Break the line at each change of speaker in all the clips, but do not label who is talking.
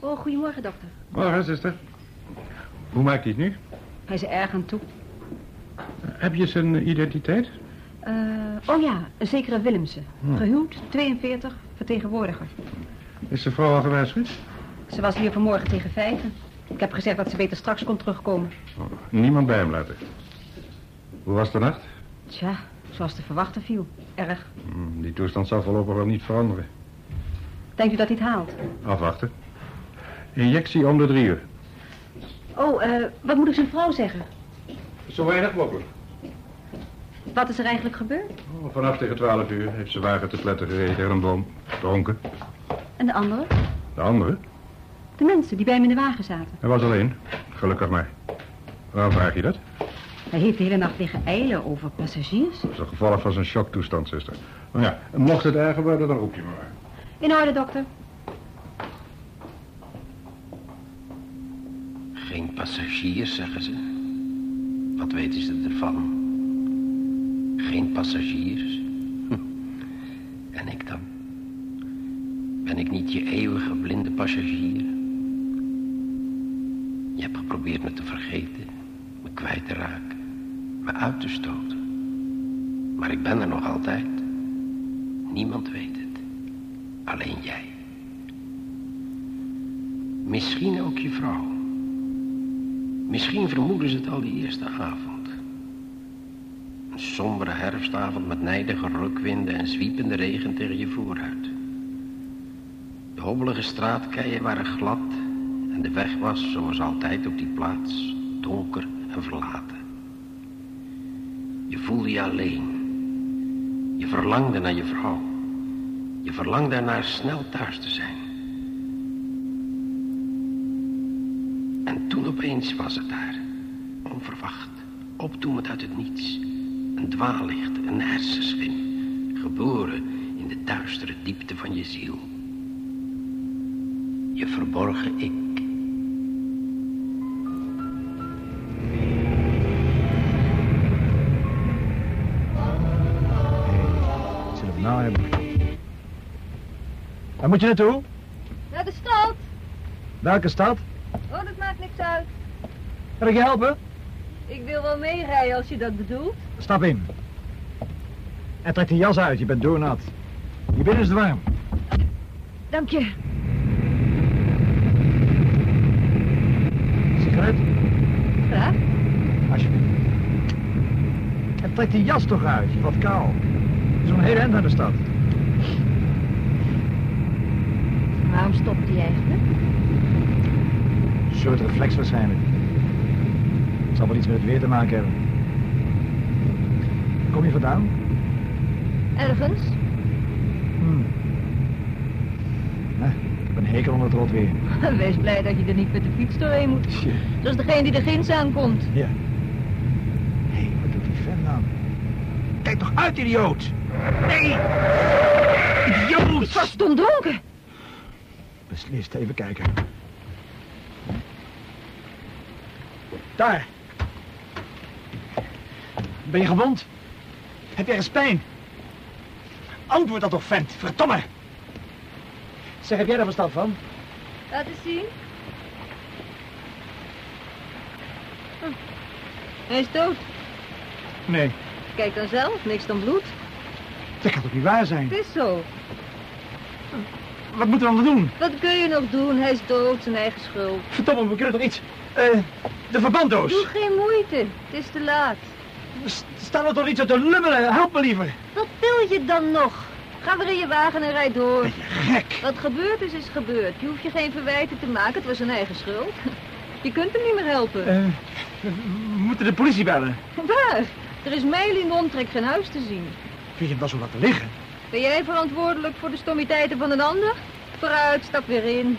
Oh, goedemorgen, dokter.
Morgen, zuster. Hoe maakt hij het nu?
Hij is er erg aan toe.
Heb je zijn identiteit?
Eh, oh ja, een zekere Willemsen. Gehuwd, 42, vertegenwoordiger.
Is de vrouw al gewaarschuwd?
Ze was hier vanmorgen tegen vijven. Ik heb gezegd dat ze beter straks kon terugkomen.
Oh, Niemand bij hem laten. Hoe was de nacht?
Tja, zoals te verwachten viel. Erg.
Hm, Die toestand zal voorlopig wel niet veranderen.
Denkt u dat hij het haalt?
Afwachten. Injectie om de drie uur.
Oh, eh, wat moet ik zijn vrouw zeggen?
Zo weinig mogelijk.
Wat is er eigenlijk gebeurd?
Oh, Vanaf tegen twaalf uur heeft ze wagen te pletten gereden tegen een boom. Dronken.
En de anderen?
De andere?
De mensen die bij hem in de wagen zaten.
Hij was alleen. Gelukkig maar. Waarom vraag je dat?
Hij heeft de hele nacht liggen eilen over passagiers.
Dat is een gevolg van zijn shocktoestand, zuster. Nou ja, mocht het erger worden, dan roep je me maar.
In orde, dokter.
Geen passagiers, zeggen ze. Wat weten ze ervan? Geen passagiers? Hm. En ik dan? Ben ik niet je eeuwige blinde passagier? Je hebt geprobeerd me te vergeten, me kwijt te raken, me uit te stoten. Maar ik ben er nog altijd. Niemand weet het. Alleen jij. Misschien ook je vrouw. Misschien vermoeden ze het al die eerste avond. Een sombere herfstavond met nijdige rukwinden en zwiepende regen tegen je vooruit. De hobbelige straatkeien waren glad en de weg was, zoals altijd op die plaats, donker en verlaten. Je voelde je alleen. Je verlangde naar je vrouw. Je verlangde ernaar snel thuis te zijn. En toen opeens was het daar. Onverwacht. Opdoemend uit het niets. Een dwaallicht, een hersenschim. Geboren in de duistere diepte van je ziel. Je verborgen ik.
Zullen we nou hebben? Waar moet je naartoe?
Naar de stad.
Welke stad?
Oh, dat maakt niks uit.
Kan ik je helpen?
Ik wil wel meerijden als je dat bedoelt.
Stap in. En trek die jas uit, je bent doornat. Hier binnen is het warm.
Dank je.
Sigaret,
Graag.
alsjeblieft. En trek die jas toch uit, je wordt kaal. Zo'n hele eind naar de stad.
Waarom stopt hij eigenlijk?
Een soort reflex waarschijnlijk. Het zal wel iets met het weer te maken hebben. Kom je vandaan?
Ergens?
Hm. Nou, ik heb een hekel onder het rot weer.
Wees blij dat je er niet met de fiets doorheen moet. Zoals degene die er ginds aankomt.
Ja. Hé, hey, wat doet die vent nou? Kijk toch uit, idioot! Nee! Idioot!
Stom dronken.
Beslist, even kijken. Daar. Ben je gewond? Heb je ergens pijn? Antwoord dat toch, vent. Verdomme! Zeg, heb jij daar verstand van?
Laat eens zien. Hm. Hij is dood.
Nee.
Kijk dan zelf, niks dan bloed.
Dat kan toch niet waar zijn?
Het is zo.
Wat moeten we dan doen?
Wat kun je nog doen? Hij is dood, zijn eigen schuld.
Verdomme, we kunnen toch iets... Eh, de verbanddoos.
Doe geen moeite, het is te laat.
S- Staan we toch niet zo te lummelen? Help me liever.
Wat wil je dan nog? Ga weer in je wagen en rijd door.
Gek.
Wat gebeurd is, is gebeurd. Je hoeft je geen verwijten te maken, het was zijn eigen schuld. Je kunt hem niet meer helpen.
Eh, we moeten de politie bellen.
Waar? Er is mijl in de omtrek geen huis te zien.
Vind je hem wel zo laten liggen?
Ben jij verantwoordelijk voor de stommiteiten van een ander? Vooruit, stap weer in.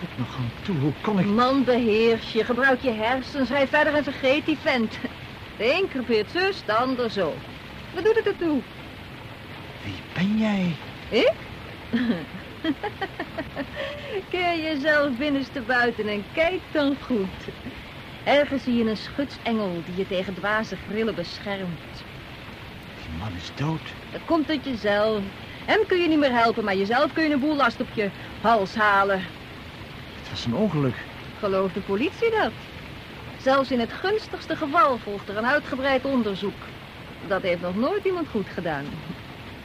God, nog aan toe. Hoe kon ik...
Man, beheers je. Gebruik je hersens. Rijd verder en vergeet die vent. De een crepeert zus, de ander zo. Wat doet het ertoe?
Wie ben jij?
Ik? Keer jezelf binnenste buiten en kijk dan goed. Ergens zie je een schutsengel die je tegen dwaze grillen beschermt.
Die man is dood.
Dat komt uit jezelf. Hem kun je niet meer helpen, maar jezelf kun je een boel last op je hals halen.
Het Dat is een ongeluk.
Gelooft de politie dat? Zelfs in het gunstigste geval volgt er een uitgebreid onderzoek. Dat heeft nog nooit iemand goed gedaan.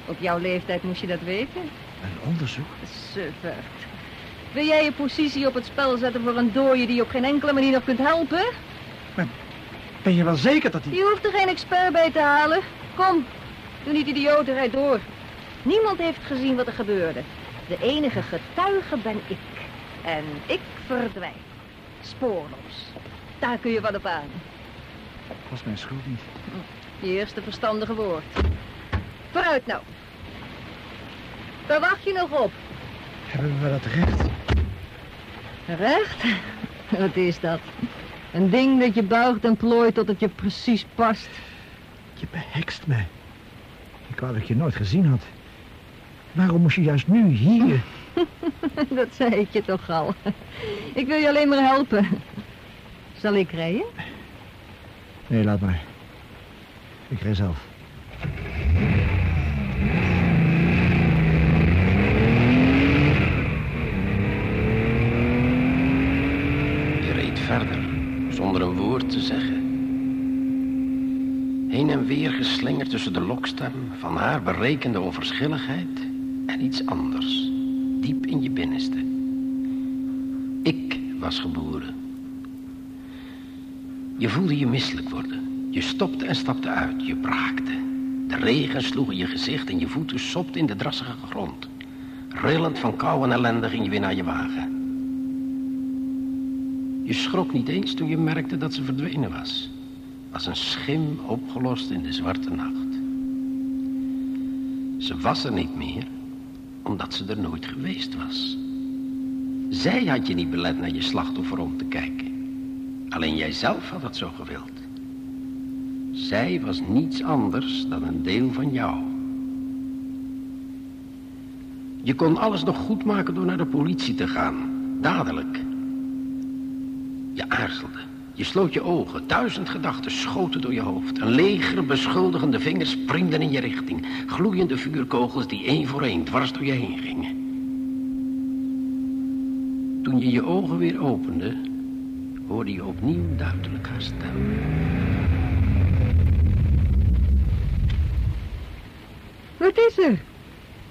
Op jouw leeftijd moest je dat weten.
Een onderzoek?
Suffert. Wil jij je positie op het spel zetten voor een dooie die je op geen enkele manier nog kunt helpen?
Ben je wel zeker dat die...
Je hoeft er geen expert bij te halen. Kom, doe niet idioot, rijd door. Niemand heeft gezien wat er gebeurde. De enige getuige ben ik. En ik verdwijn. Spoorloos. Daar kun je wat op aan.
was mijn schuld niet.
Je eerste verstandige woord. Vooruit nou. Waar wacht je nog op?
Hebben we dat recht?
Recht? Wat is dat? Een ding dat je buigt en plooit tot het je precies past.
Je behekst mij. Ik wou dat ik je nooit gezien had. Waarom moest je juist nu hier?
Dat zei ik je toch al. Ik wil je alleen maar helpen. Zal ik rijden?
Nee, laat maar. Ik rij zelf.
Je reed verder, zonder een woord te zeggen. Heen en weer geslingerd tussen de lokstem van haar berekende onverschilligheid en iets anders, diep in je binnenste. Ik was geboren. Je voelde je misselijk worden. Je stopte en stapte uit. Je braakte. De regen sloeg in je gezicht en je voeten sopten in de drassige grond. Rillend van kou en ellende ging je weer naar je wagen. Je schrok niet eens toen je merkte dat ze verdwenen was. Als een schim opgelost in de zwarte nacht. Ze was er niet meer, omdat ze er nooit geweest was. Zij had je niet belet naar je slachtoffer om te kijken. Alleen jijzelf had het zo gewild. Zij was niets anders dan een deel van jou. Je kon alles nog goedmaken door naar de politie te gaan. Dadelijk. Je aarzelde. Je sloot je ogen. Duizend gedachten schoten door je hoofd. Een leger beschuldigende vingers springden in je richting. Gloeiende vuurkogels die één voor één dwars door je heen gingen. Toen je je ogen weer opende, hoorde je opnieuw duidelijk haar stem.
Wat is er?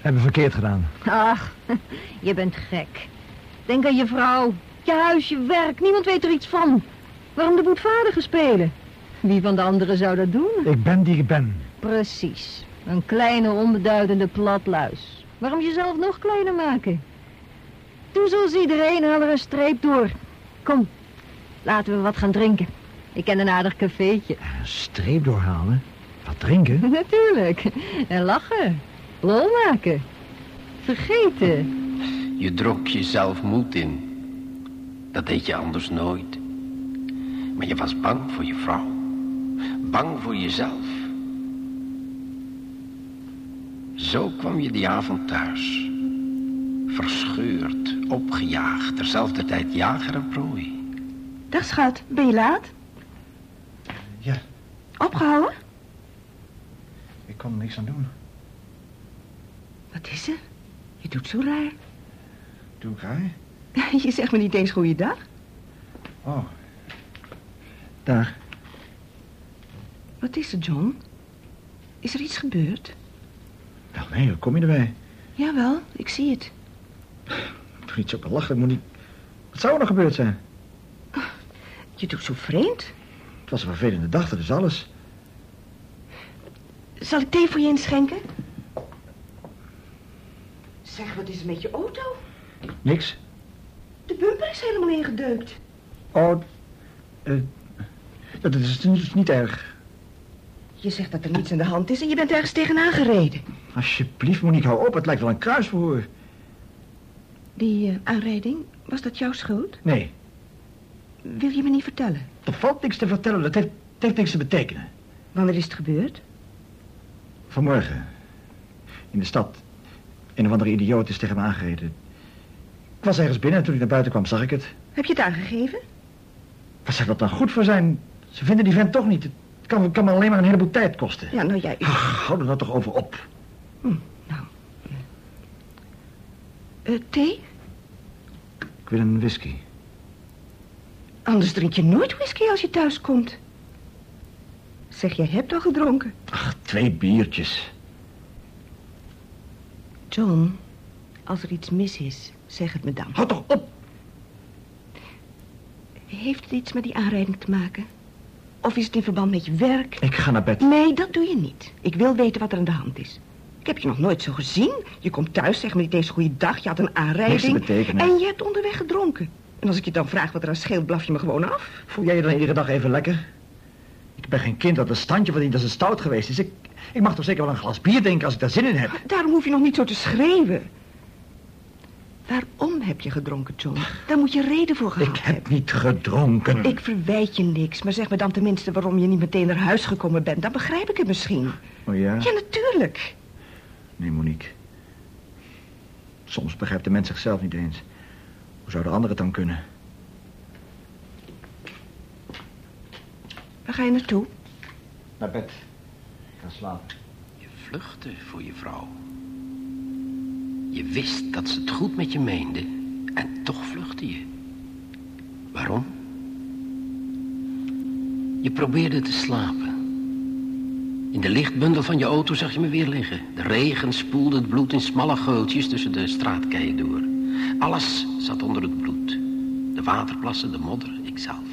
Hebben verkeerd gedaan.
Ach, je bent gek. Denk aan je vrouw, je huis, je werk. Niemand weet er iets van. Waarom de boetvaardige spelen? Wie van de anderen zou dat doen?
Ik ben die ik ben.
Precies. Een kleine, onbeduidende platluis. Waarom jezelf nog kleiner maken? Doe zoals iedereen, haal er een streep door. Kom, laten we wat gaan drinken. Ik ken een aardig cafeetje.
Een streep doorhalen? Wat drinken?
Natuurlijk. En lachen. Lol maken. Vergeten.
Je dronk jezelf moed in. Dat deed je anders nooit. Maar je was bang voor je vrouw. Bang voor jezelf. Zo kwam je die avond thuis. Verscheurd, opgejaagd, terzelfde tijd jager en prooi.
Dag schat, ben je laat?
Ja.
Opgehouden?
Ik kon er niks aan doen.
Wat is er? Je doet zo raar.
Doe ik raar?
Je zegt me niet eens goeiedag.
Oh. Daar.
Wat is er, John? Is er iets gebeurd?
Wel nee, hoe kom je erbij?
Jawel, ik zie het.
Doe niet zo belachelijk, moet niet... Wat zou er nog gebeurd zijn?
Je doet zo vreemd.
Het was een vervelende dag, dat is alles.
Zal ik thee voor je inschenken? Zeg, wat is er met je auto?
Niks?
De bumper is helemaal ingedeukt.
Oh, eh, dat is, dat is niet erg.
Je zegt dat er niets aan de hand is en je bent ergens tegenaan gereden.
Alsjeblieft, Monique, hou op. Het lijkt wel een kruisverhoor.
Die eh, aanrijding, was dat jouw schuld?
Nee,
Wil je me niet vertellen?
er valt niks te vertellen. Dat heeft, het heeft niks te betekenen.
Wanneer is het gebeurd?
Vanmorgen, in de stad, een of andere idioot is tegen me aangereden. Ik was ergens binnen en toen ik naar buiten kwam, zag ik het.
Heb je het aangegeven?
Wat zou dat dan goed voor zijn? Ze vinden die vent toch niet. Het kan, kan me alleen maar een heleboel tijd kosten.
Ja, nou jij...
Ach, hou er nou toch over op.
Eh, thee? Eh,
Ik wil een whisky.
Anders drink je nooit whisky als je thuis komt. Zeg, jij hebt al gedronken.
Ach, twee biertjes.
John, als er iets mis is, zeg het me dan.
Houd toch op.
Heeft het iets met die aanrijding te maken? Of is het in verband met je werk?
Ik ga naar bed.
Nee, dat doe je niet. Ik wil weten wat er aan de hand is. Ik heb je nog nooit zo gezien. Je komt thuis, zeg me niet eens goeiedag. Je had een aanrijding.
Niks te betekenen.
En je hebt onderweg gedronken. En als ik je dan vraag wat er aan scheelt, blaf je me gewoon af.
Voel jij je dan iedere dag even lekker? Ik ben geen kind dat een standje verdient als een stout geweest is. Ik, ik mag toch zeker wel een glas bier drinken als ik daar zin in heb.
Daarom hoef je nog niet zo te schreeuwen. Waarom heb je gedronken, John? Daar moet je reden voor gehad
Ik heb niet gedronken.
Ik verwijt je niks, maar zeg me dan tenminste waarom je niet meteen naar huis gekomen bent. Dan begrijp ik het misschien.
Oh ja?
Ja, natuurlijk.
Nee, Monique. Soms begrijpt de mens zichzelf niet eens. Hoe zouden anderen het dan kunnen?
Waar ga je naartoe?
Naar bed. Ik ga slapen.
Je vluchtte voor je vrouw. Je wist dat ze het goed met je meende en toch vluchtte je. Waarom? Je probeerde te slapen. In de lichtbundel van je auto zag je me weer liggen. De regen spoelde het bloed in smalle geultjes tussen de straatkeien door. Alles zat onder het bloed. De waterplassen, de modder, ikzelf.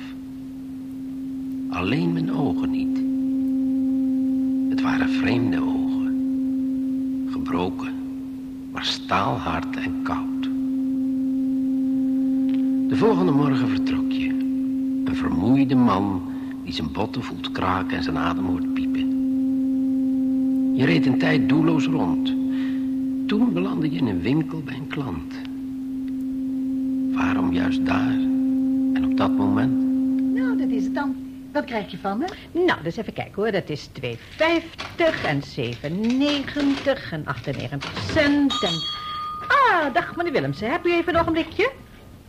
Alleen mijn ogen niet. Het waren vreemde ogen. Gebroken, maar staalhard en koud. De volgende morgen vertrok je. Een vermoeide man die zijn botten voelt kraken en zijn adem hoort piepen. Je reed een tijd doelloos rond. Toen belandde je in een winkel bij een klant. Waarom juist daar en op dat moment?
Nou, dat is het dan. Wat krijg je van me?
Nou, dus even kijken hoor. Dat is 2,50 en 7,90 en 98 cent en... Ah, dag meneer Willemsen. Heb u even nog een ogenblikje?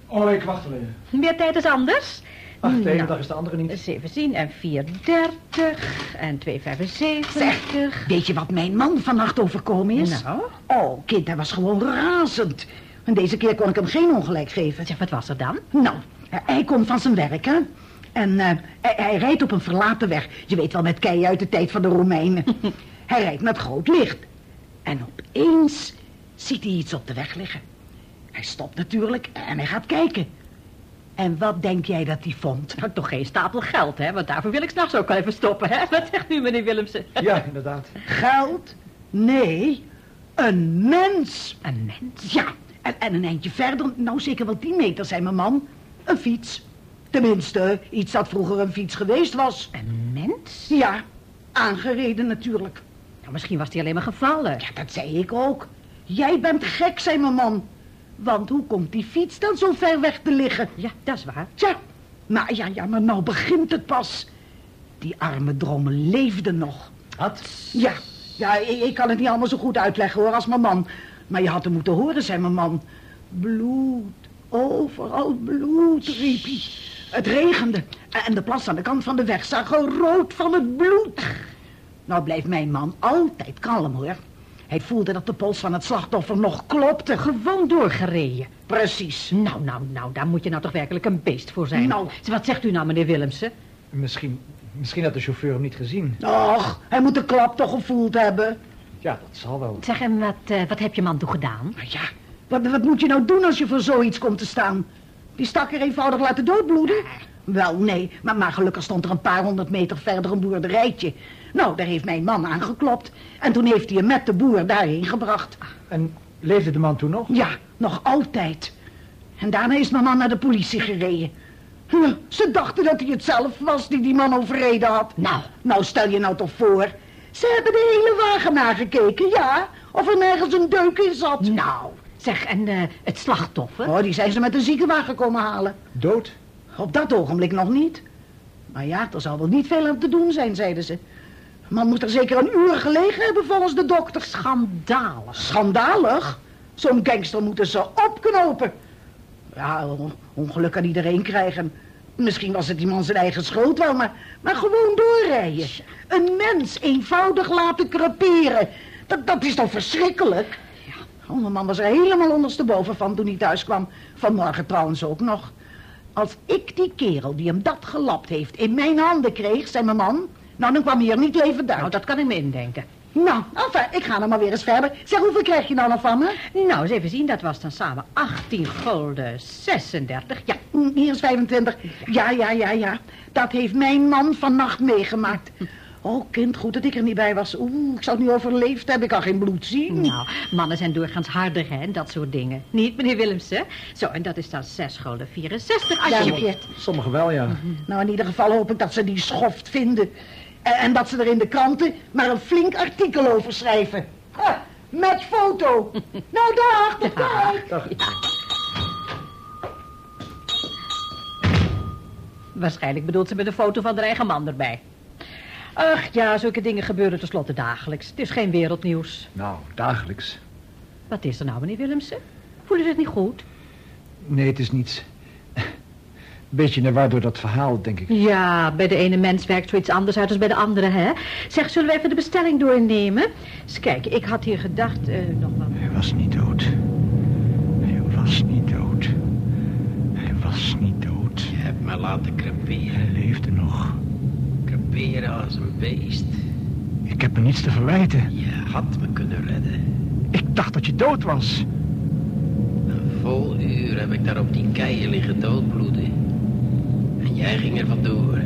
Oh, ik wacht alleen.
Meer tijd is anders.
Ach, de ene
Nou,
dag is de andere niet.
17 en 4,30 en 2,75.
Weet je wat mijn man vannacht overkomen is?
Nou,
Oh, kind, hij was gewoon razend. En deze keer kon ik hem geen ongelijk geven.
zeg, wat was er dan?
Nou, hij- hij komt van zijn werk, hè? En eh, hij, hij rijdt op een verlaten weg. Je weet wel, met kei uit de tijd van de Romeinen. hij rijdt met groot licht. En opeens ziet hij iets op de weg liggen. Hij stopt natuurlijk en hij gaat kijken. En wat denk jij dat hij vond?
Nou, toch geen stapel geld, hè? Want daarvoor wil ik s'nachts ook wel even stoppen, hè? Wat zegt u, meneer Willemsen?
Ja, inderdaad.
Geld? Nee, een mens.
Een mens.
Ja, en, en een eindje verder, nou zeker wel tien meter, zei mijn man. Een fiets. Tenminste, iets dat vroeger een fiets geweest was.
Een mens?
Ja, aangereden natuurlijk.
Nou, misschien was hij alleen maar gevallen.
Ja, dat zei ik ook. Jij bent gek, zei mijn man. Want hoe komt die fiets dan zo ver weg te liggen?
Ja, dat is waar.
Tja, maar ja, ja, maar nou begint het pas. Die arme dromen leefden nog.
Wat?
Ja, ja ik, ik kan het niet allemaal zo goed uitleggen hoor als mijn man. Maar je had hem moeten horen, zei mijn man. Bloed, overal bloed, riep hij. Het regende en de plas aan de kant van de weg zag rood van het bloed. Nou blijft mijn man altijd kalm hoor. Hij voelde dat de pols van het slachtoffer nog klopte.
Gewoon doorgereden.
Precies.
Nou, nou, nou, daar moet je nou toch werkelijk een beest voor zijn.
Nou.
Wat zegt u nou, meneer Willemsen?
Misschien, misschien had de chauffeur hem niet gezien.
Och, hij moet de klap toch gevoeld hebben.
Ja, dat zal wel.
Zeg, en wat, eh, wat heb je man toen gedaan?
Maar ja, wat, wat moet je nou doen als je voor zoiets komt te staan? Die stakker eenvoudig laten doodbloeden?
Ah.
Wel, nee, maar, maar gelukkig stond er een paar honderd meter verder een boerderijtje. Nou, daar heeft mijn man aangeklopt. En toen heeft hij hem met de boer daarheen gebracht.
Ah.
En leefde de man toen nog?
Ja, nog altijd. En daarna is mijn man naar de politie gereden. Huh, Ze dachten dat hij het zelf was die die man overreden had. Nou, nou stel je nou toch voor. Ze hebben de hele wagen nagekeken, ja. Of er nergens een deuk in zat. Nou,
Zeg, en eh, het slachtoffer?
Oh, die zijn ze met een ziekenwagen komen halen.
Dood?
Op dat ogenblik nog niet. Maar ja, er zal wel niet veel aan te doen zijn, zeiden ze. Man moet er zeker een uur gelegen hebben volgens de dokter.
Schandalig.
Schandalig. Zo'n gangster moeten ze opknopen. Ja, on- ongeluk kan iedereen krijgen. Misschien was het die man zijn eigen schuld wel, maar, maar gewoon doorrijden. Een mens eenvoudig laten creperen. Dat, dat is toch verschrikkelijk? Ja. Oh, mijn man was er helemaal ondersteboven van toen hij thuis kwam. Vanmorgen trouwens ook nog. Als ik die kerel die hem dat gelapt heeft in mijn handen kreeg, zei mijn man... Nou, dan kwam hij er niet levend uit.
Nou, dat kan ik me indenken.
Nou, enfin, ik ga nou maar weer eens verder. Zeg, hoeveel krijg je nou nog van me?
Nou, eens even zien, dat was dan samen 18 gulden 36. Ja,
Hm, Hier is 25. Ja, ja, ja, ja. Dat heeft mijn man vannacht meegemaakt. Oh, kind, goed dat ik er niet bij was. Oeh, ik zou het nu overleefd hebben. Ik kan geen bloed
Hmm.
zien.
nou, mannen zijn doorgaans harder, hè, en dat soort dingen. Niet, meneer Willemsen? Zo, en dat is dan 6 gulden 64, alsjeblieft.
Sommigen wel, ja.
Nou, in ieder geval hoop ik dat ze die schoft vinden. En, en dat ze er in de kranten maar een flink artikel over schrijven. Ha, met foto. nou, dag, tot kijk.
Waarschijnlijk bedoelt ze met een foto van haar eigen man erbij. Ach ja, zulke dingen gebeuren tenslotte dagelijks. Het is geen wereldnieuws.
Nou, dagelijks.
Wat is er nou, meneer Willemsen? Voelen ze het niet goed?
Nee, het is niets. Beetje naar waardoor dat verhaal, denk ik.
Ja, bij de ene mens werkt zoiets anders uit als bij de andere, hè? Zeg, zullen we even de bestelling doornemen? Eens kijken, ik had hier gedacht... eh, nog wat.
Hij was niet dood. Hij was niet dood. Hij was niet dood.
Je hebt me laten creperen.
Hij leefde nog.
Creperen als een beest.
Ik heb me niets te verwijten.
Je had me kunnen redden.
Ik dacht dat je dood was.
Een vol uur heb ik daar op die keien liggen doodbloeden. En jij ging er vandoor.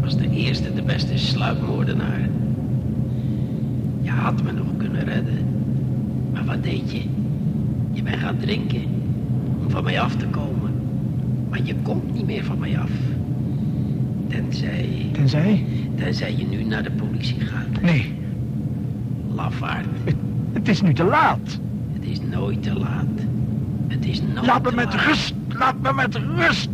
Was de eerste, de beste sluipmoordenaar. Je had me nog kunnen redden. Maar wat deed je? Je bent gaan drinken. Om van mij af te komen. Maar je komt niet meer van mij af. Tenzij...
Tenzij?
Tenzij je nu naar de politie gaat.
Nee,
Lafaard.
het is nu te laat.
Het is nooit te laat. Het is nooit
Laat me
te
met
laat.
rust. Laat me met rust.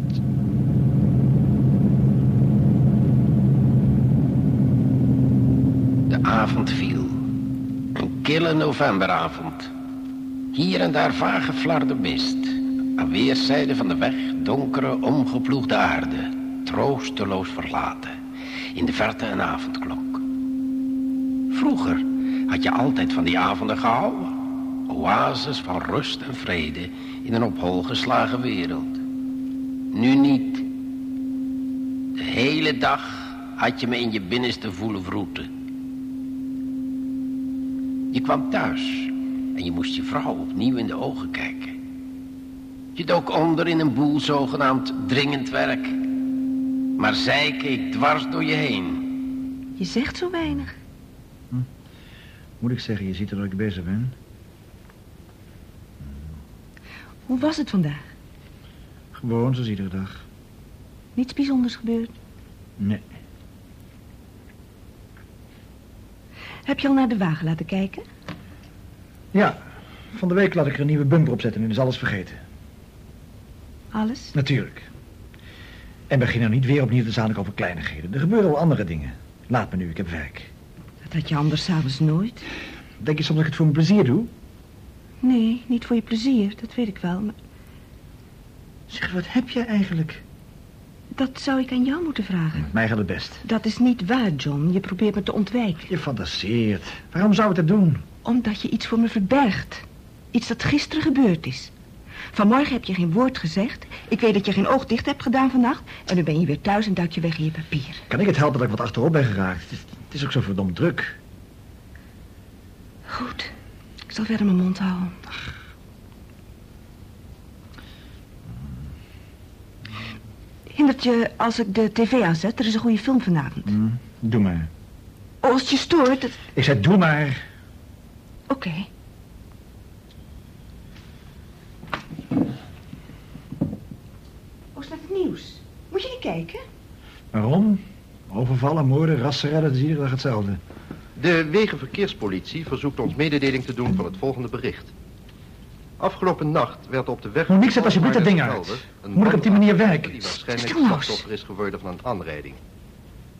De avond viel. Een kille novemberavond. Hier en daar vage flarde mist. Aan weerszijden van de weg donkere, omgeploegde aarde. Troosteloos verlaten. In de verte een avondklok. Vroeger had je altijd van die avonden gehouden. Oases van rust en vrede in een op hol geslagen wereld. Nu niet. De hele dag had je me in je binnenste voelen vroeten. Je kwam thuis en je moest je vrouw opnieuw in de ogen kijken. Je dook onder in een boel zogenaamd dringend werk. Maar zij keek dwars door je heen.
Je zegt zo weinig.
Moet ik zeggen, je ziet er dat ik bezig ben.
Hoe was het vandaag?
Gewoon zoals iedere dag.
Niets bijzonders gebeurd?
Nee.
Heb je al naar de wagen laten kijken?
Ja, van de week laat ik er een nieuwe bumper op zetten en is alles vergeten.
Alles?
Natuurlijk. En begin nou niet weer opnieuw te zanik over kleinigheden. Er gebeuren al andere dingen. Laat me nu, ik heb werk.
Dat had je anders s'avonds nooit.
Denk je soms dat ik het voor mijn plezier doe?
Nee, niet voor je plezier, dat weet ik wel. Maar
Zeg, wat heb jij eigenlijk?
dat zou ik aan jou moeten vragen.
Hm, Mij gaat het best.
Dat is niet waar, John. Je probeert me te ontwijken.
Je fantaseert. Waarom zou ik dat doen?
Omdat je iets voor me verbergt. Iets dat gisteren gebeurd is. Vanmorgen heb je geen woord gezegd. Ik weet dat je geen oog dicht hebt gedaan vannacht. En nu ben je weer thuis en duik je weg in je papier.
Kan ik het helpen dat ik wat achterop ben geraakt? Het is, het is ook zo verdomd druk.
Goed. Ik zal verder mijn mond houden. Hindert je als ik de tv aanzet? Er is een goede film vanavond.
Doe maar.
Oh, als het je stoort... het-
Ik zei, doe maar.
Oké. Oh, is dat het nieuws? Moet je niet kijken?
Waarom? Overvallen, moorden, rassenredden, dat is iedere dag hetzelfde.
De Wegenverkeerspolitie verzoekt ons mededeling te doen van het volgende bericht. Afgelopen nacht werd op de weg...
Monique, zet alsjeblieft dat ding uit.
Een
Moet ik op die
man
manier werken?
...die waarschijnlijk
Stil nou eens.
slachtoffer is geworden van een aanrijding.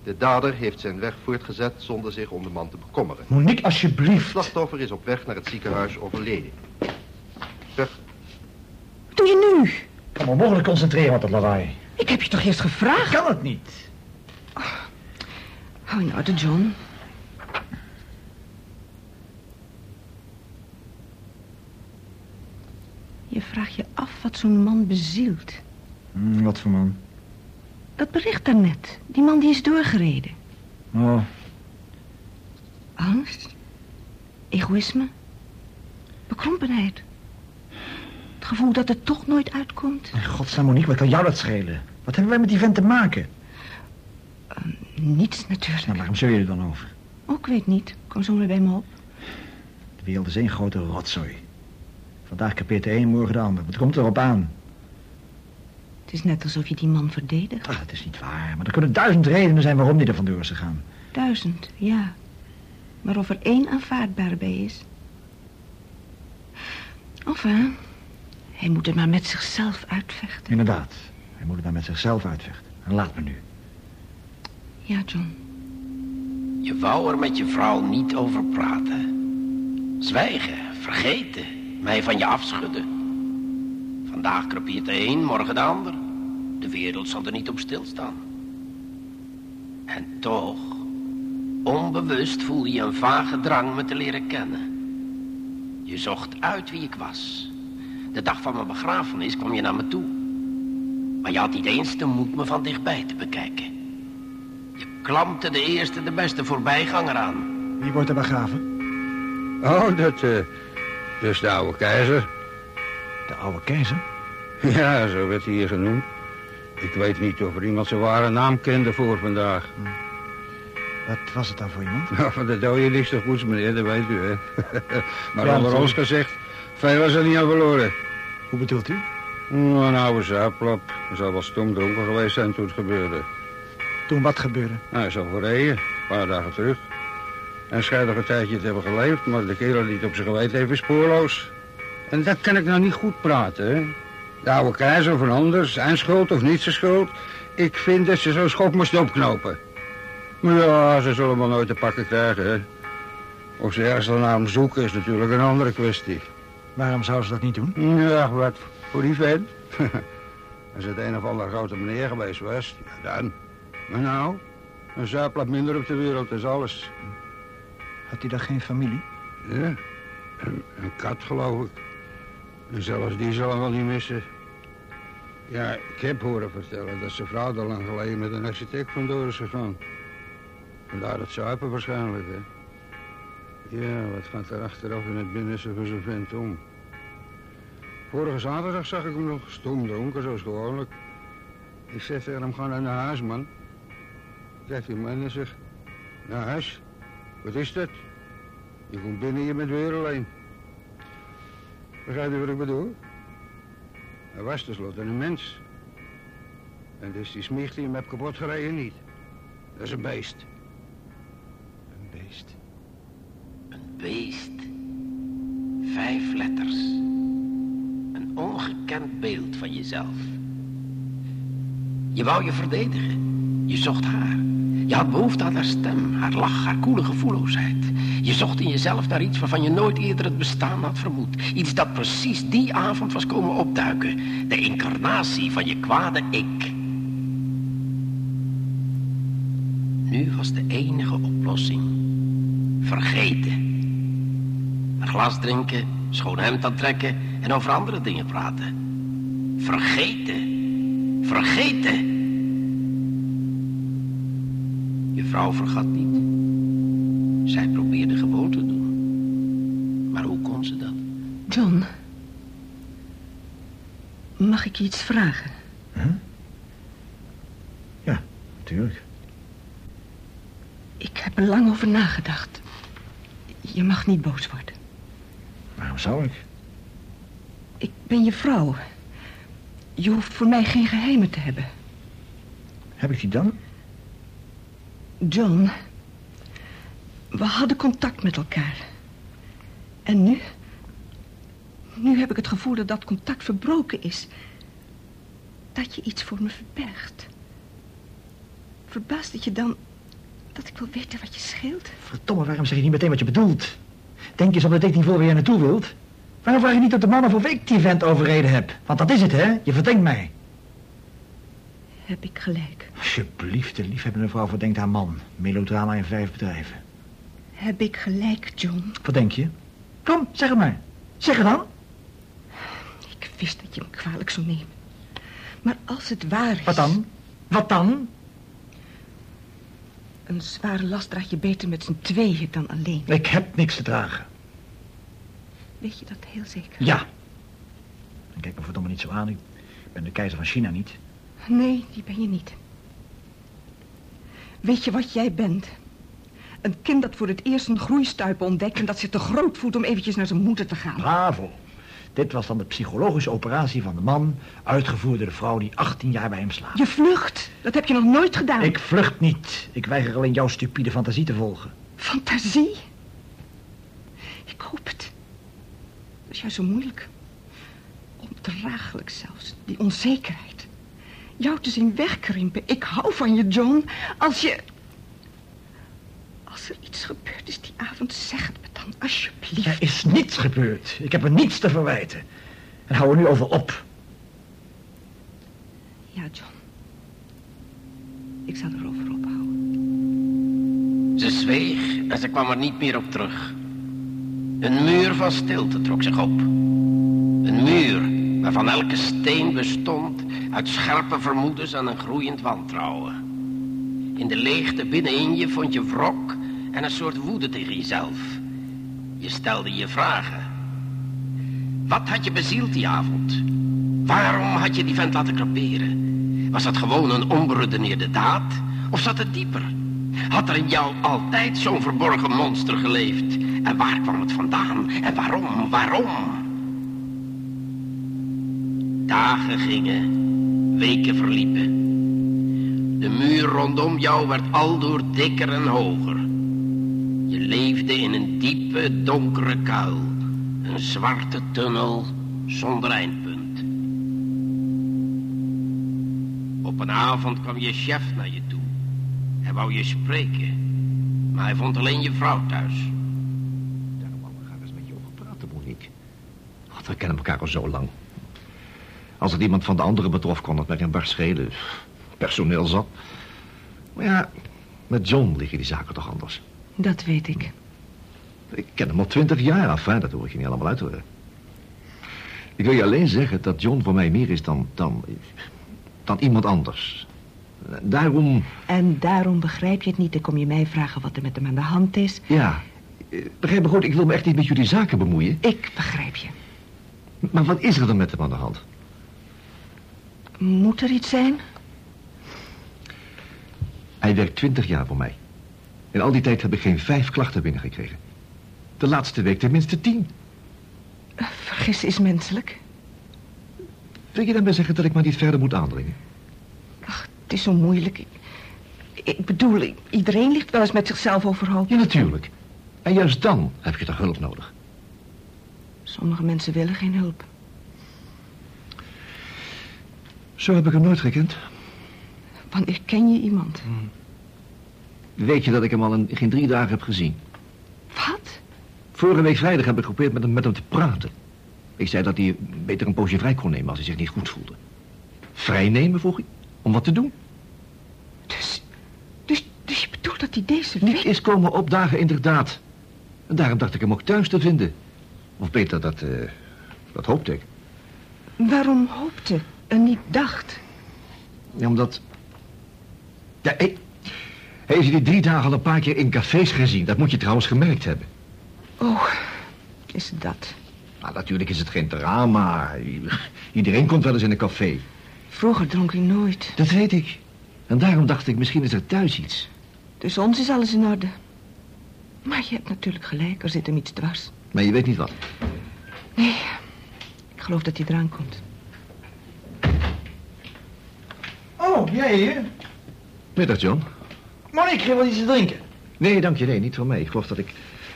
De dader heeft zijn weg voortgezet zonder zich om de man te bekommeren.
Monique,
Het
alsjeblieft.
slachtoffer is op weg naar het ziekenhuis overleden. Zeg,
Wat doe je nu?
Ik kan me onmogelijk concentreren op dat lawaai.
Ik heb je toch eerst gevraagd?
Kan het niet?
Hou je nou de John. Je vraagt je af wat zo'n man bezielt.
Hm, wat voor man?
Dat bericht daarnet. Die man die is doorgereden.
Oh,
Angst? Egoïsme? Bekrompenheid? Het gevoel dat het toch nooit uitkomt?
in godsnaam Monique, wat kan jou dat schelen? Wat hebben wij met die vent te maken?
Ehm, Niets natuurlijk.
Nou, waarom zeur je er dan over?
Ook weet niet. Kom zo maar bij me op.
De wereld is één grote rotzooi. Vandaag kapeert de een, morgen de ander. Wat komt erop aan?
Het is net alsof je die man verdedigt.
Ah, dat is niet waar, maar er kunnen duizend redenen zijn waarom die er vandoor is gegaan.
Duizend, ja. Maar of er één aanvaardbaar bij is. Enfin, hij moet het maar met zichzelf uitvechten.
Inderdaad. Hij moet het dan met zichzelf uitvechten. En laat me nu.
Ja, John.
Je wou er met je vrouw niet over praten. Zwijgen, vergeten, mij van je afschudden. Vandaag krepeert de een, morgen de ander. De wereld zal er niet op stilstaan. En toch, onbewust voel je een vage drang me te leren kennen. Je zocht uit wie ik was. De dag van mijn begrafenis kwam je naar me toe. Maar je had niet eens de moed me van dichtbij te bekijken. Je klampte de eerste de beste voorbijganger aan.
Wie wordt er begraven?
Oh, dat eh, is de oude keizer.
De oude keizer.
Ja, zo werd hij hier genoemd. Ik weet niet of er iemand zijn ware naam kende voor vandaag.
Wat was het dan voor iemand?
Nou, van de dode niks toch goeds, meneer, dat weet u, hè. maar onder
Ja,
ons
natuurlijk.
gezegd, veel was er niet aan verloren.
Hoe bedoelt u?
Nou, een oude zaaplap. Hij zal wel stom dronken geweest zijn toen het gebeurde.
Toen wat gebeurde?
Nou, hij is al gereden, een paar dagen terug. En schijnt nog een tijdje te hebben geleefd, maar de kerel die het op zijn geweten heeft is spoorloos. En dat kan ik nou niet goed praten, hè. De oude keizer of een ander, zijn schuld of niet zijn schuld. Ik vind dat ze zo'n schop moest opknopen. Maar ja, ze zullen wel nooit te pakken krijgen, hè. Of ze ergens naar hem zoeken is natuurlijk een andere kwestie.
Waarom zouden ze dat niet doen?
Ja, wat voor die vent. Als het een of ander grote meneer geweest was, ja dan. Maar nou, een zuiplap minder op de wereld is alles.
Had hij dan geen familie?
Ja, een, een kat geloof ik. En zelfs die zal hem wel niet missen. Ja, ik heb horen vertellen dat zijn vrouw al lang geleden met een architect vandoor is gegaan. Vandaar het zuipen waarschijnlijk, hè. Ja, wat gaat er achteraf in het binnenste van zijn vent om? Vorige zaterdag zag ik hem nog stom dronken, zoals gewoonlijk. Ik zeg tegen hem, ga nou naar huis, man. Kijkt die man en zegt, naar huis? Wat is dat? Je komt binnen, je bent weer alleen. Begrijp je wat ik bedoel? Hij was tenslotte een mens. En dus die smicht die hem heb kapot gereden niet. Dat is een beest.
Een beest.
Een beest. Vijf letters. Een ongekend beeld van jezelf. Je wou je verdedigen. Je zocht haar. Je had behoefte aan haar stem, haar lach, haar koele gevoelloosheid. Je zocht in jezelf naar iets waarvan je nooit eerder het bestaan had vermoed. Iets dat precies die avond was komen opduiken. De incarnatie van je kwade ik. Nu was de enige oplossing. Vergeten. Een glas drinken, schoon hemd aantrekken en over andere dingen praten. Vergeten. Vergeten. Je vrouw vergat niet. Zij probeerde gewoon te doen. Maar hoe kon ze dat?
John. Mag ik je iets vragen?
Natuurlijk.
Ik heb er lang over nagedacht. Je mag niet boos worden.
Waarom zou ik?
Ik ben je vrouw. Je hoeft voor mij geen geheimen te hebben.
Heb ik die dan?
John, we hadden contact met elkaar. En nu? Nu heb ik het gevoel dat dat contact verbroken is. Dat je iets voor me verbergt. Verbaast het je dan dat ik wil weten wat je scheelt?
Verdomme, waarom zeg je niet meteen wat je bedoelt? Denk je dat ik niet wil waar je naartoe wilt? Waarom vraag je niet op de man of of ik die vent overreden heb? Want dat is het, hè? Je verdenkt mij.
Heb ik gelijk?
Alsjeblieft, de liefhebbende vrouw verdenkt haar man. Melodrama in vijf bedrijven.
Heb ik gelijk, John?
Wat denk je? Kom, zeg het maar. Zeg het dan.
Ik wist dat je me kwalijk zou nemen. Maar als het waar is...
Wat dan? Wat dan?
Een zware last draag je beter met z'n tweeën dan alleen.
Ik heb niks te dragen.
Weet je dat heel zeker?
Ja. En kijk me verdomme niet zo aan. Ik ben de keizer van China niet.
Nee, die ben je niet. Weet je wat jij bent? Een kind dat voor het eerst een groeistuip ontdekt... en dat zich te groot voelt om eventjes naar zijn moeder te gaan.
Bravo. Dit was dan de psychologische operatie van de man... uitgevoerd door de vrouw die 18 jaar bij hem slaapt.
Je vlucht. Dat heb je nog nooit gedaan.
Ik vlucht niet. Ik weiger alleen jouw stupide fantasie te volgen.
Fantasie? Ik hoop het. Dat is juist zo moeilijk. Ondraaglijk zelfs, die onzekerheid. Jou te zien wegkrimpen. Ik hou van je, John. Als je... Als er iets gebeurd is die avond, zeg het me dan, alsjeblieft.
Er is niets gebeurd. Ik heb er niets te verwijten. En hou er nu over op.
Ja, John. Ik zal erover ophouden.
Ze zweeg en ze kwam er niet meer op terug. Een muur van stilte trok zich op. Een muur waarvan elke steen bestond uit scherpe vermoedens en een groeiend wantrouwen. In de leegte binnenin je vond je wrok en een soort woede tegen jezelf. Je stelde je vragen. Wat had je bezield die avond? Waarom had je die vent laten creperen? Was dat gewoon een onberedeneerde daad? Of zat het dieper? Had er in jou altijd zo'n verborgen monster geleefd? En waar kwam het vandaan? En waarom? Waarom? Dagen gingen, weken verliepen. De muur rondom jou werd aldoor dikker en hoger. Je leefde in een diepe, donkere kuil. Een zwarte tunnel zonder eindpunt. Op een avond kwam je chef naar je toe. Hij wou je spreken, maar hij vond alleen je vrouw thuis.
Ga eens met je over praten, Monique. Want we kennen elkaar al zo lang. Als het iemand van de anderen betrof, kon het mij een bar schelen. Personeel zat. Maar ja, met John liggen die zaken toch anders.
Dat weet ik.
Ik ken hem al twintig jaar af, hè? dat hoor ik je niet allemaal uit te horen. Ik wil je alleen zeggen dat John voor mij meer is dan, dan, dan iemand anders. Daarom,
En daarom begrijp je het niet en kom je mij vragen wat er met hem aan de hand is.
ja, eh, begrijp me goed, ik wil me echt niet met jullie zaken bemoeien.
Ik begrijp je.
Maar wat is er dan met hem aan de hand?
Moet er iets zijn?
Hij werkt twintig jaar voor mij. In al die tijd heb ik geen vijf klachten binnengekregen. De laatste week tenminste tien.
Vergissen is menselijk.
Wil je daarmee zeggen dat ik maar niet verder moet aandringen?
Het is zo moeilijk. Ik, ik bedoel, i- iedereen ligt wel eens met zichzelf overhoop.
Ja, natuurlijk. En juist dan heb je toch hulp nodig.
Sommige mensen willen geen hulp.
Zo heb ik hem nooit gekend.
Wanneer ken je iemand?
Weet je dat ik hem al in geen drie dagen heb gezien?
Wat?
Vorige week vrijdag heb ik geprobeerd met hem, met hem te praten. Ik zei dat hij beter een poosje vrij kon nemen als hij zich niet goed voelde. Vrij nemen, vroeg ik. Om wat te doen?
Dus, dus, dus je bedoelt dat hij deze
Niet
week...
is komen opdagen, inderdaad. En daarom dacht ik hem ook thuis te vinden. Of beter, dat, eh, dat hoopte ik.
Waarom hoopte en niet dacht?
Ja, omdat... Ja, hij... hij is die drie dagen al een paar keer in cafés gezien. Dat moet je trouwens gemerkt hebben.
Oh, is het dat?
Nou, natuurlijk is het geen drama. I- Iedereen komt wel eens in een café.
Vroeger dronk hij nooit.
Dat weet ik. En daarom dacht ik, misschien is er thuis iets.
Dus ons is alles in orde. Maar je hebt natuurlijk gelijk, er zit hem iets dwars.
Maar je weet niet wat.
Nee, ik geloof dat hij eraan komt.
Oh, jij hier?
Middag, John.
Monique, geef wel iets te drinken.
Nee, dank je, nee, niet voor mij. Ik geloof dat ik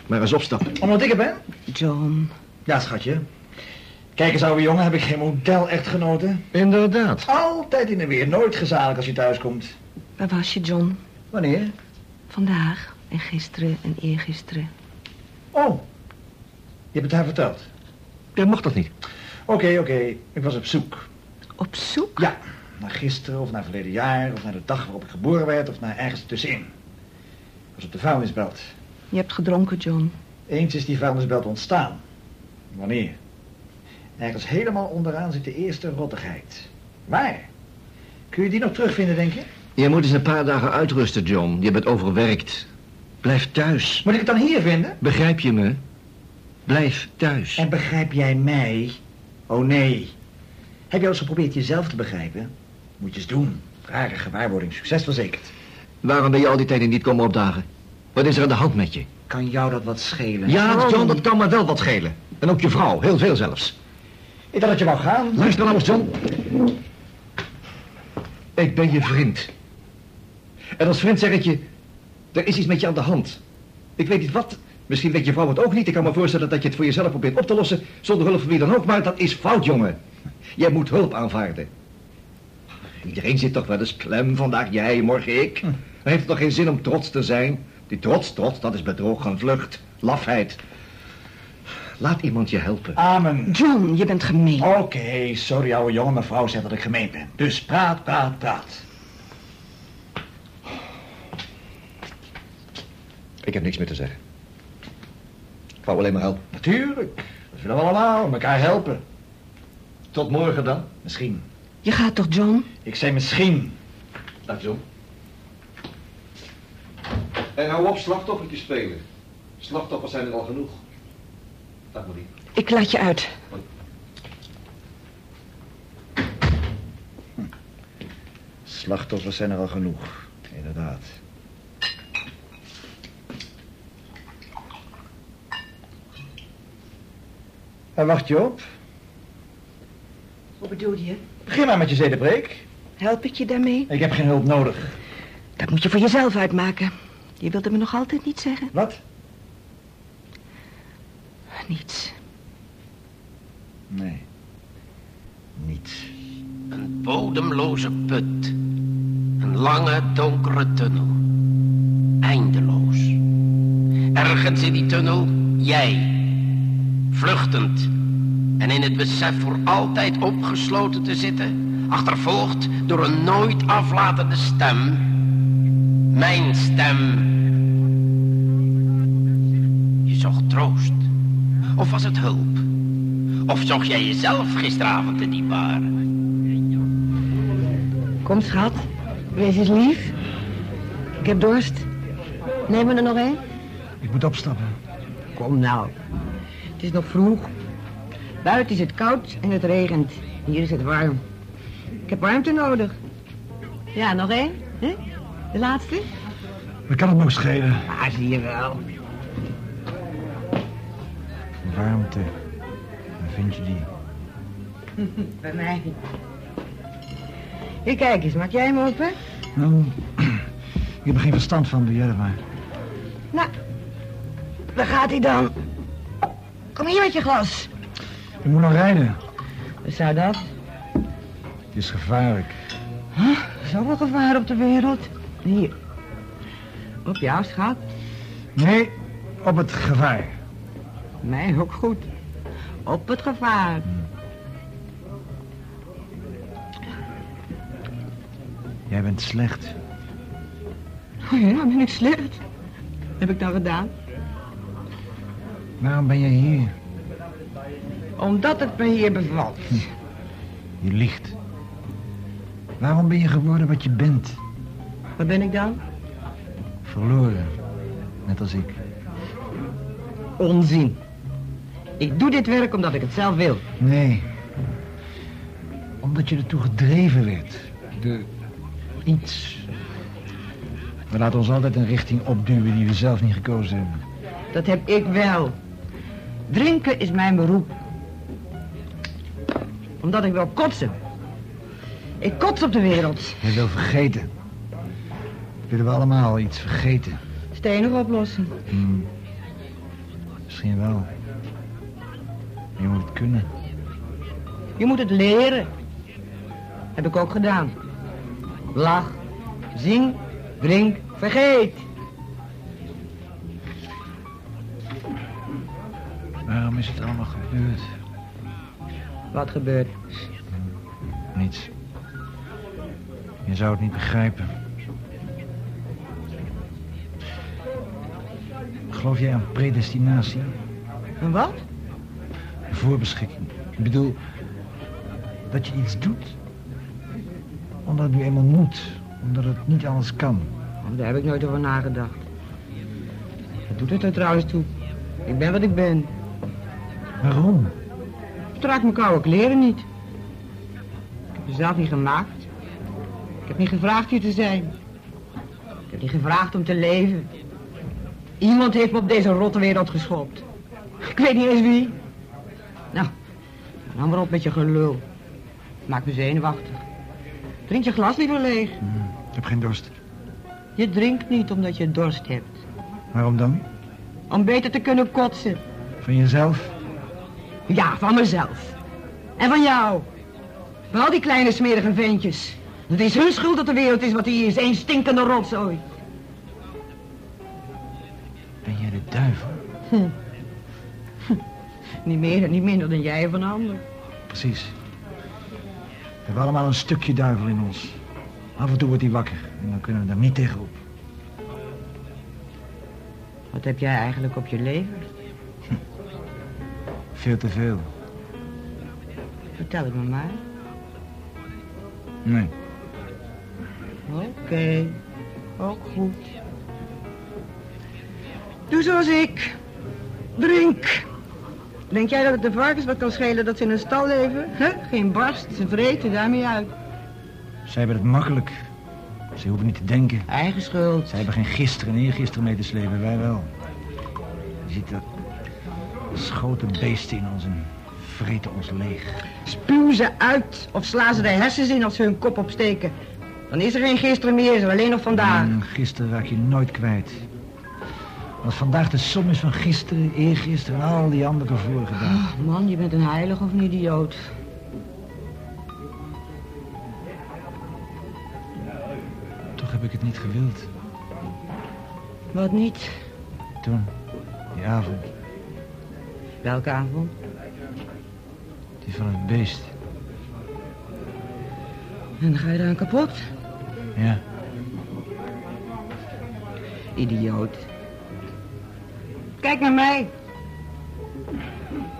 maar eens opstap.
Omdat ik er ben?
John,
Ja, schatje. Kijk eens, ouwe jongen, heb ik geen model echt genoten.
Inderdaad.
Altijd in en weer, nooit gezalig als je thuis komt.
waar was je, John?
Wanneer?
Vandaag en gisteren en eergisteren.
Oh, je hebt het haar verteld.
Jij mocht dat niet.
Oké, oké, ik was op zoek.
Op zoek?
Ja, naar gisteren of naar verleden jaar of naar de dag waarop ik geboren werd of naar ergens tussenin. Ik was op de vuilnisbelt.
Je hebt gedronken, John.
Eens is die vuilnisbelt ontstaan. Wanneer? Ergens helemaal onderaan zit de eerste rottigheid. Waar? Kun je die nog terugvinden, denk je?
Je moet eens een paar dagen uitrusten, John. Je bent overwerkt. Blijf thuis.
Moet ik het dan hier vinden?
Begrijp je me? Blijf thuis.
En begrijp jij mij? Oh nee. Heb je al eens geprobeerd jezelf te begrijpen? Moet je eens doen. Rare gewaarwording, succes verzekerd.
Waarom ben je al die tijden niet komen opdagen? Wat is er aan de hand met je?
Kan jou dat wat schelen? Oh.
Ja, John, dat kan me wel wat schelen. En ook je vrouw, heel veel zelfs.
Ik dacht dat je wou gaan.
Luister nou eens, John. Ik ben je vriend. En als vriend zeg ik je, er is iets met je aan de hand. Ik weet niet wat. Misschien weet je vrouw het ook niet. Ik kan me voorstellen dat je het voor jezelf probeert op te lossen, zonder hulp van wie dan ook. Maar dat is fout, jongen. Jij moet hulp aanvaarden. Iedereen zit toch wel eens klem. Vandaag jij, morgen
Hm.
ik. Dan heeft het toch geen zin om trots te zijn? Die trots, trots, dat is bedrog en vlucht. Lafheid. Laat iemand je helpen.
Amen.
John, je bent gemeen.
Ah, Oké, sorry ouwe jongen, mijn vrouw zegt dat ik gemeen ben. Dus praat, praat, praat.
Ik heb niks meer te zeggen. Ik wou alleen maar helpen.
Natuurlijk, dat willen we allemaal, elkaar helpen.
Tot morgen dan.
Misschien.
Je gaat toch, John?
Ik zei misschien.
Dag John. En hou op slachtoffertje spelen. Slachtoffers zijn er al genoeg. Dag Marie.
Ik laat je uit.
Slachtoffers zijn er al genoeg, inderdaad. En wacht je op?
Hoe bedoel je?
Begin maar met je zedebreek.
Help ik je daarmee?
Ik heb geen hulp nodig.
Dat moet je voor jezelf uitmaken. Je wilt het me nog altijd niet zeggen.
Wat?
Niets.
Nee. Niets.
Een bodemloze put. Een lange, donkere tunnel. Eindeloos. Ergens in die tunnel, jij. Vluchtend. En in het besef voor altijd opgesloten te zitten. Achtervolgd door een nooit aflatende stem. Mijn stem. Je zocht troost. Of was het hulp? Of zocht jij jezelf gisteravond in die bar?
Kom, schat. Wees eens lief. Ik heb dorst. Neem me er nog een?
Ik moet opstappen.
Kom nou. Het is nog vroeg. Buiten is het koud en het regent. Hier is het warm. Ik heb warmte nodig. Ja, nog één? hè? De laatste?
We kan het nog schelen?
Ah, zie je wel.
Warmte. Waar vind je die?
Bij mij. Hier, kijk eens. Maak jij hem open?
Nou, ik heb er geen verstand van, doe jij dat maar.
Nou, waar gaat hij dan? Kom hier met je glas.
Ik moet nog rijden.
Wat zou dat?
Het is gevaarlijk.
Zoveel gevaar op de wereld. Hier. Op jou, schat.
Nee, op het gevaar.
Mij ook goed. Op het gevaar.
Jij bent slecht.
Oh ja, ben ik slecht. Wat heb ik nou gedaan?
Waarom ben jij hier?
Omdat het me hier bevalt.
Hm.
Je liegt. Waarom ben je geworden wat je bent?
Wat ben ik dan?
Verloren. Net als ik.
Onzin. Ik doe dit werk omdat ik het zelf wil.
Nee. Omdat je ertoe gedreven werd. De... Iets. We laten ons altijd een richting opduwen die we zelf niet gekozen hebben.
Dat heb ik wel. Drinken is mijn beroep. Omdat ik wil kotsen. Ik kots op de wereld.
Je wil vergeten. Willen we allemaal iets vergeten?
Stenig oplossen.
Hmm. Misschien wel. Je moet het kunnen.
Je moet het leren. Heb ik ook gedaan. Lach, zing, drink, vergeet.
Waarom is het allemaal gebeurd?
Wat gebeurt?
Niets. Je zou het niet begrijpen. Geloof jij aan predestinatie?
En wat?
Een Voorbeschikking. Ik bedoel, dat je iets doet Omdat het nu eenmaal moet. Omdat het niet anders kan.
Oh, Daar heb ik nooit over nagedacht. Wat doet het er trouwens toe? Ik ben wat ik ben.
Waarom?
Ik draag mijn koude kleren niet. Ik heb ze zelf niet gemaakt. Ik heb niet gevraagd hier te zijn. Ik heb niet gevraagd om te leven. Iemand heeft me op deze rotte wereld geschopt. Ik weet niet eens wie. Nou, dan maar op met je gelul. Maak me zenuwachtig. Drink je glas liever leeg.
Ik heb geen dorst.
Je drinkt niet omdat je dorst hebt.
Waarom dan?
Om beter te kunnen kotsen.
Van jezelf?
Ja, van mezelf. En van jou. Van al die kleine smerige ventjes. Het is hun schuld dat de wereld is wat die is. één stinkende rotzooi.
Ben jij de duivel?
Hm. Hm. Niet meer en niet minder dan jij of een ander.
Precies. We hebben allemaal een stukje duivel in ons. Af en toe wordt hij wakker en dan kunnen we daar niet tegenop.
Wat heb jij eigenlijk op je leven?
Veel te veel.
Vertel het me maar.
Nee.
Oké, ook goed. Doe zoals ik. Drink. Denk jij dat het de varkens wat kan schelen dat ze in een stal leven? hè? Geen barst, ze vreten daarmee uit.
Zij hebben het makkelijk. Ze hoeven niet te denken.
Eigen schuld.
Zij hebben geen gisteren en eergisteren mee te slepen, wij wel. Je ziet dat schoten beesten in ons en vreten ons leeg.
Spuw ze uit of sla ze de hersens in als ze hun kop opsteken. Dan is er geen gisteren meer, is er alleen nog vandaag.
En gisteren raak je nooit kwijt. Als vandaag de som is van gisteren, eergisteren en al die andere vorige dagen.
Oh, man, je bent een heilig of een idioot.
Oh. Toch heb ik het niet gewild.
Wat niet?
Toen, die avond,
Welke avond?
die van het beest.
En dan ga je eraan kapot?
Ja.
Idioot. Kijk naar mij.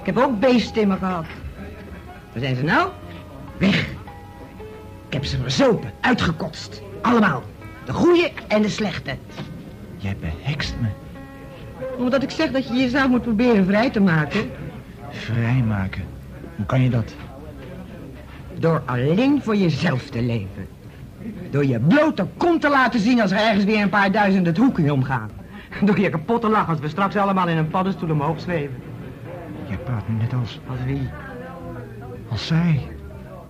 Ik heb ook beesten in me gehad. Waar zijn ze nou? Weg. Ik heb ze verzopen, uitgekotst. Allemaal. De goede en de slechte.
Jij behekst me.
Omdat ik zeg dat je jezelf moet proberen vrij te maken.
Vrijmaken. Hoe kan je dat?
Door alleen voor jezelf te leven. Door je blote kont te laten zien als er ergens weer een paar duizend het hoekje omgaan. Door je kapot te lachen als we straks allemaal in een paddenstoel omhoog zweven.
Jij praat nu net als...
Als wie?
Als zij.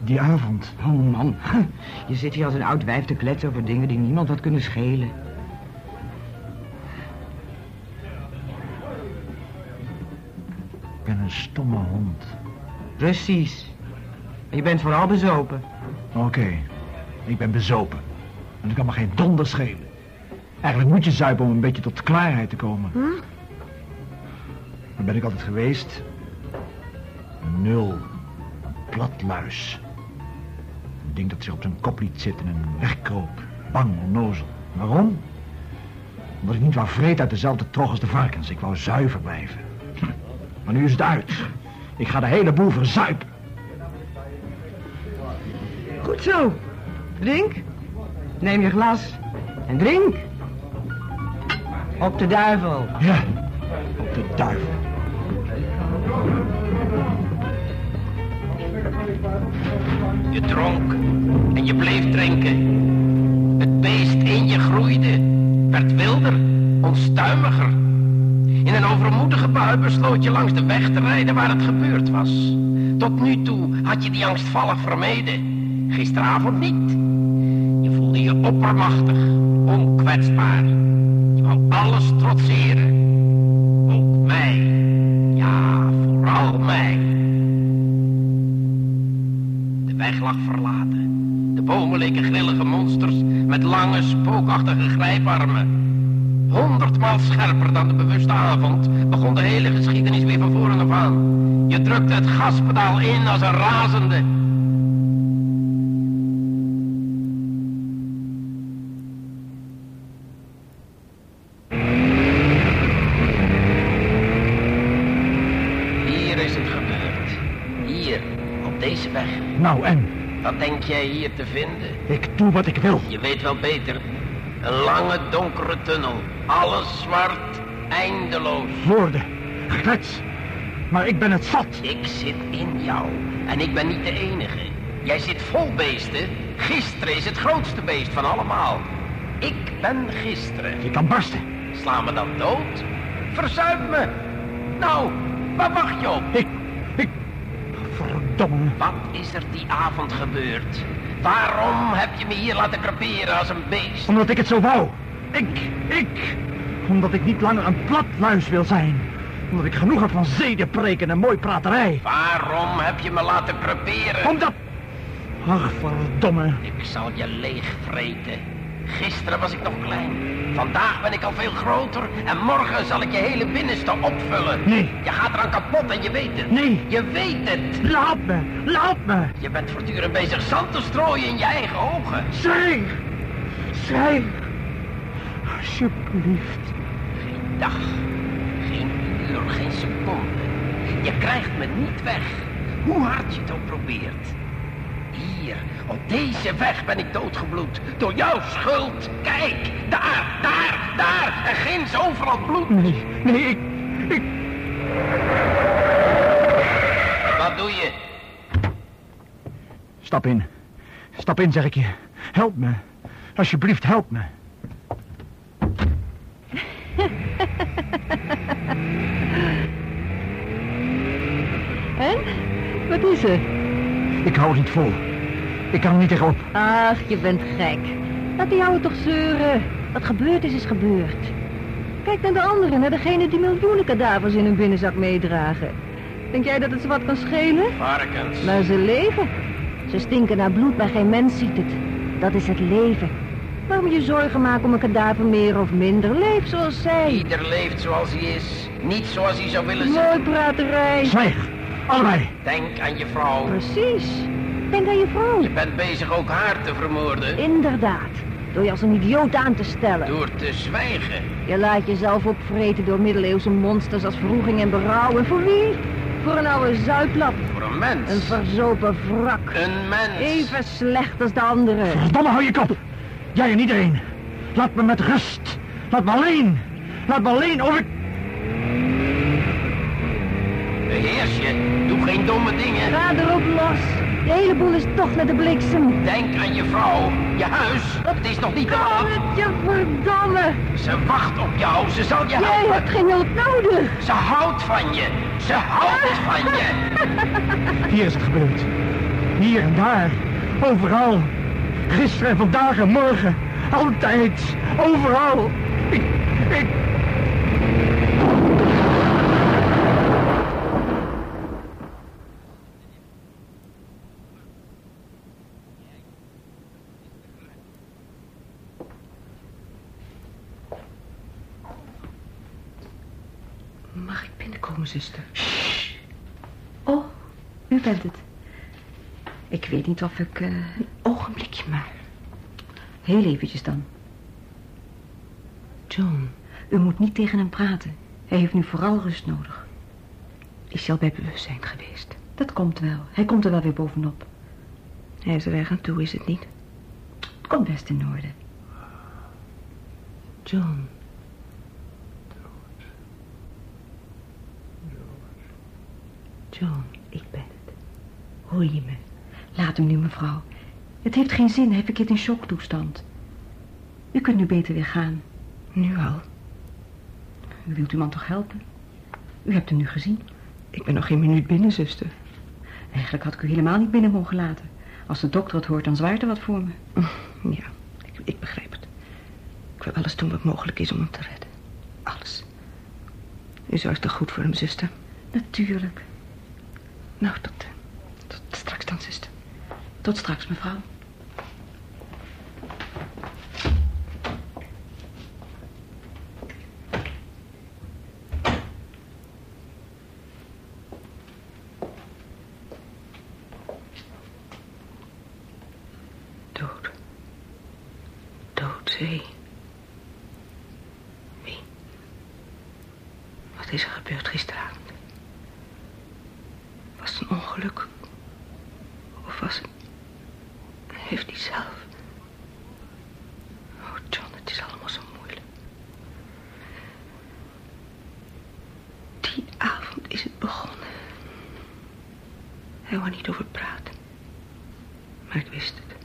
Die avond.
Oh man, je zit hier als een oud wijf te kletsen over dingen die niemand wat kunnen schelen.
Ik ben een stomme hond.
Precies. En Je bent vooral bezopen.
Oké. Ik ben bezopen. En ik kan me geen donder schelen. Eigenlijk moet je zuipen om een beetje tot klaarheid te komen. Waar ben ik altijd geweest? Een Nul. Een platluis. Een ding dat zich op zijn kop liet zitten en wegkroop. Bang, onnozel. Waarom? Omdat ik niet wou vreten uit dezelfde trog als de varkens. Ik wou zuiver blijven. Hm. Maar nu is het uit. Ik ga de hele boel verzuipen.
Goed zo. Drink. Neem je glas. En drink. Op de duivel.
Ja, op de duivel.
Je dronk en je bleef drinken. Het beest in je groeide, werd wilder, onstuimiger. In een overmoedige bui besloot je langs de weg te rijden waar het gebeurd was. Tot nu toe had je die angstvallig vermeden. Gisteravond niet. Je voelde je oppermachtig, onkwetsbaar. Je wou alles trotseren. Ook mij. Ja, vooral mij. De weg lag verlaten. De bomen leken grillige monsters met lange, spookachtige grijparmen. Honderdmaal scherper dan de bewuste avond begon de hele geschiedenis weer van voren af aan. Je drukte het gaspedaal in als een razende. Hier is het gebeurd. Hier, op deze weg.
Nou, en?
Wat denk jij hier te vinden?
Ik doe wat ik wil.
Je weet wel beter. Een lange donkere tunnel. Alles zwart, eindeloos.
Woorden, geklets. Maar ik ben het zat.
Ik zit in jou. En ik ben niet de enige. Jij zit vol beesten. Gisteren is het grootste beest van allemaal. Ik ben gisteren.
Je kan barsten.
Sla me dan dood? Verzuip me. Nou, waar wacht je op?
Ik, ik... Verdomme.
Wat is er die avond gebeurd? Waarom heb je me hier laten creperen als een beest?
Omdat ik het zo wou. Ik, ik. Omdat ik niet langer een platluis wil zijn. Omdat ik genoeg heb van zedenpreken en mooi praterij.
Waarom heb je me laten creperen?
Omdat... Ach, verdomme.
Ik zal je leegvreten. Gisteren was ik nog klein. Vandaag ben ik al veel groter. En morgen zal ik je hele binnenste opvullen.
Nee.
Je gaat eraan kapot en je weet het.
Nee.
Je weet het.
Laat me. Laat me.
Je bent voortdurend bezig zand te strooien in je eigen ogen.
Zwijg. Zwijg. Alsjeblieft.
Geen dag. Geen uur. Geen seconde. Je krijgt me niet weg. Hoe hard je het ook probeert. Hier, op deze weg ben ik doodgebloed. Door jouw schuld. Kijk, daar, daar, daar. En ginds overal bloed.
Nee, nee, ik, ik...
Wat doe je?
Stap in. Stap in, zeg ik je. Help me. Alsjeblieft, help me.
En? Wat is er?
Ik hou het niet vol. Ik kan er niet tegenop.
Ach, je bent gek. Laat die ouwe toch zeuren. Wat gebeurd is, is gebeurd. Kijk naar de anderen, naar degene die miljoenen kadavers in hun binnenzak meedragen. Denk jij dat het ze wat kan schelen?
Varkens.
Maar ze leven. Ze stinken naar bloed, maar geen mens ziet het. Dat is het leven. Waarom je zorgen maken om een kadaver meer of minder? Leef zoals zij.
Ieder leeft zoals hij is. Niet zoals hij zou willen zijn.
Mooi praterij.
Zwijg. Allebei.
Denk aan je vrouw.
Precies. Denk aan je vrouw.
Je bent bezig ook haar te vermoorden.
Inderdaad. Door je als een idioot aan te stellen.
Door te zwijgen.
Je laat jezelf opvreten door middeleeuwse monsters als verroeging en berouw. En voor wie? Voor een oude zuiplap.
Voor een mens.
Een verzopen wrak.
Een mens.
Even slecht als de anderen.
Verdomme, hou je kop. Jij en iedereen. Laat me met rust. Laat me alleen. Laat me alleen of ik...
Beheers je. Doe geen domme dingen.
Ga erop los. De hele boel is toch naar de bliksem.
Denk aan je vrouw. Je huis. Het is nog niet te
Kan
laat.
het je verdomme.
Ze wacht op jou. Ze zal je
Jij
helpen.
hebt geen hulp nodig.
Ze houdt van je. Ze houdt van je.
Hier is het gebeurd. Hier en daar. Overal. Gisteren en vandaag en morgen. Altijd. Overal. Ik... Ik...
Mag ik binnenkomen, zuster?
Oh, u bent het.
Ik weet niet of ik... eh, Een ogenblikje maar.
Heel eventjes dan.
John,
U moet niet tegen hem praten. Hij heeft nu vooral rust nodig.
is je al bij bewustzijn geweest?
Dat komt wel. Hij komt er wel weer bovenop.
Hij is er erg aan toe, is het niet?
Het komt best in orde.
John. John,
Ik ben het.
hoor je me?
Laat hem nu, mevrouw. Het heeft geen zin. Hij verkeert in shocktoestand. U kunt nu beter weer gaan.
Nu al.
U wilt uw man toch helpen? U hebt hem nu gezien.
Ik ben nog geen minuut binnen, zuster.
Eigenlijk had ik u helemaal niet binnen mogen laten. Als de dokter het hoort, dan zwaart er wat voor me.
Ja, ik, ik begrijp het. Ik wil alles doen wat mogelijk is om hem te redden. Alles. U zorgt toch goed voor hem, zuster?
Natuurlijk.
Nou, tot, eh, tot straks dan, zuster.
Tot straks, mevrouw.
Dood. Dood, zee. Wie? Wat is er gebeurd gisteravond? Was het een ongeluk? Of was het... heeft hij zelf. Oh, John, het is allemaal zo moeilijk. Die avond is het begonnen. Hij wou niet over praten. Maar ik wist het.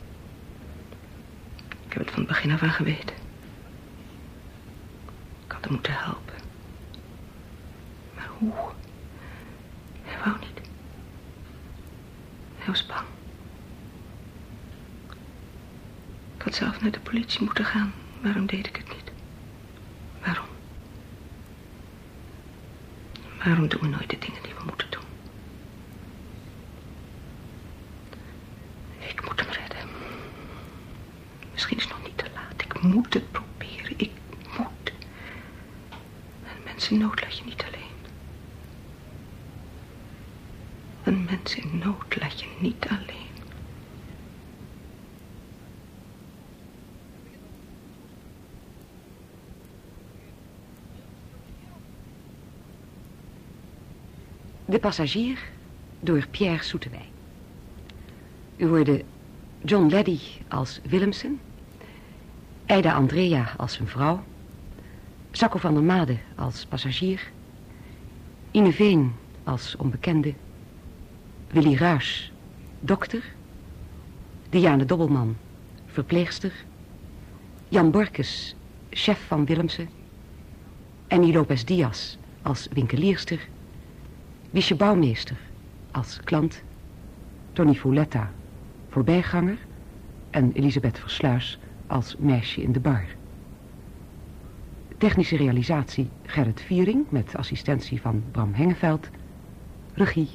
Ik heb het van het begin af aan geweten. Ik had hem moeten helpen. Maar hoe? Hij wou niet. Hij was bang. Ik had zelf naar de politie moeten gaan. Waarom deed ik het niet? Waarom? Waarom doen we nooit de dingen die we moeten doen? Ik moet hem redden. Misschien is het nog niet te laat. Ik moet het proberen. Ik moet. Een mens in nood laat je niet alleen. Een mens in nood laat je niet alleen.
De passagier door Pierre Soetewijk. U hoorde John Leddy als Willemsen, Eida Andrea als zijn vrouw, Sacco van der Made als passagier, Ine Veen als onbekende, Willy Ruys, dokter, Diane Dobbelman, verpleegster, Jan Borkes, chef van Willemsen, Annie Lopez Diaz als winkelierster, Wiesje Bouwmeester als klant, Tony Fouletta, voorbijganger en Elisabeth Versluis als meisje in de bar. Technische realisatie Gerrit Viering met assistentie van Bram Hengeveld, regie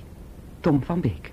Tom van Beek.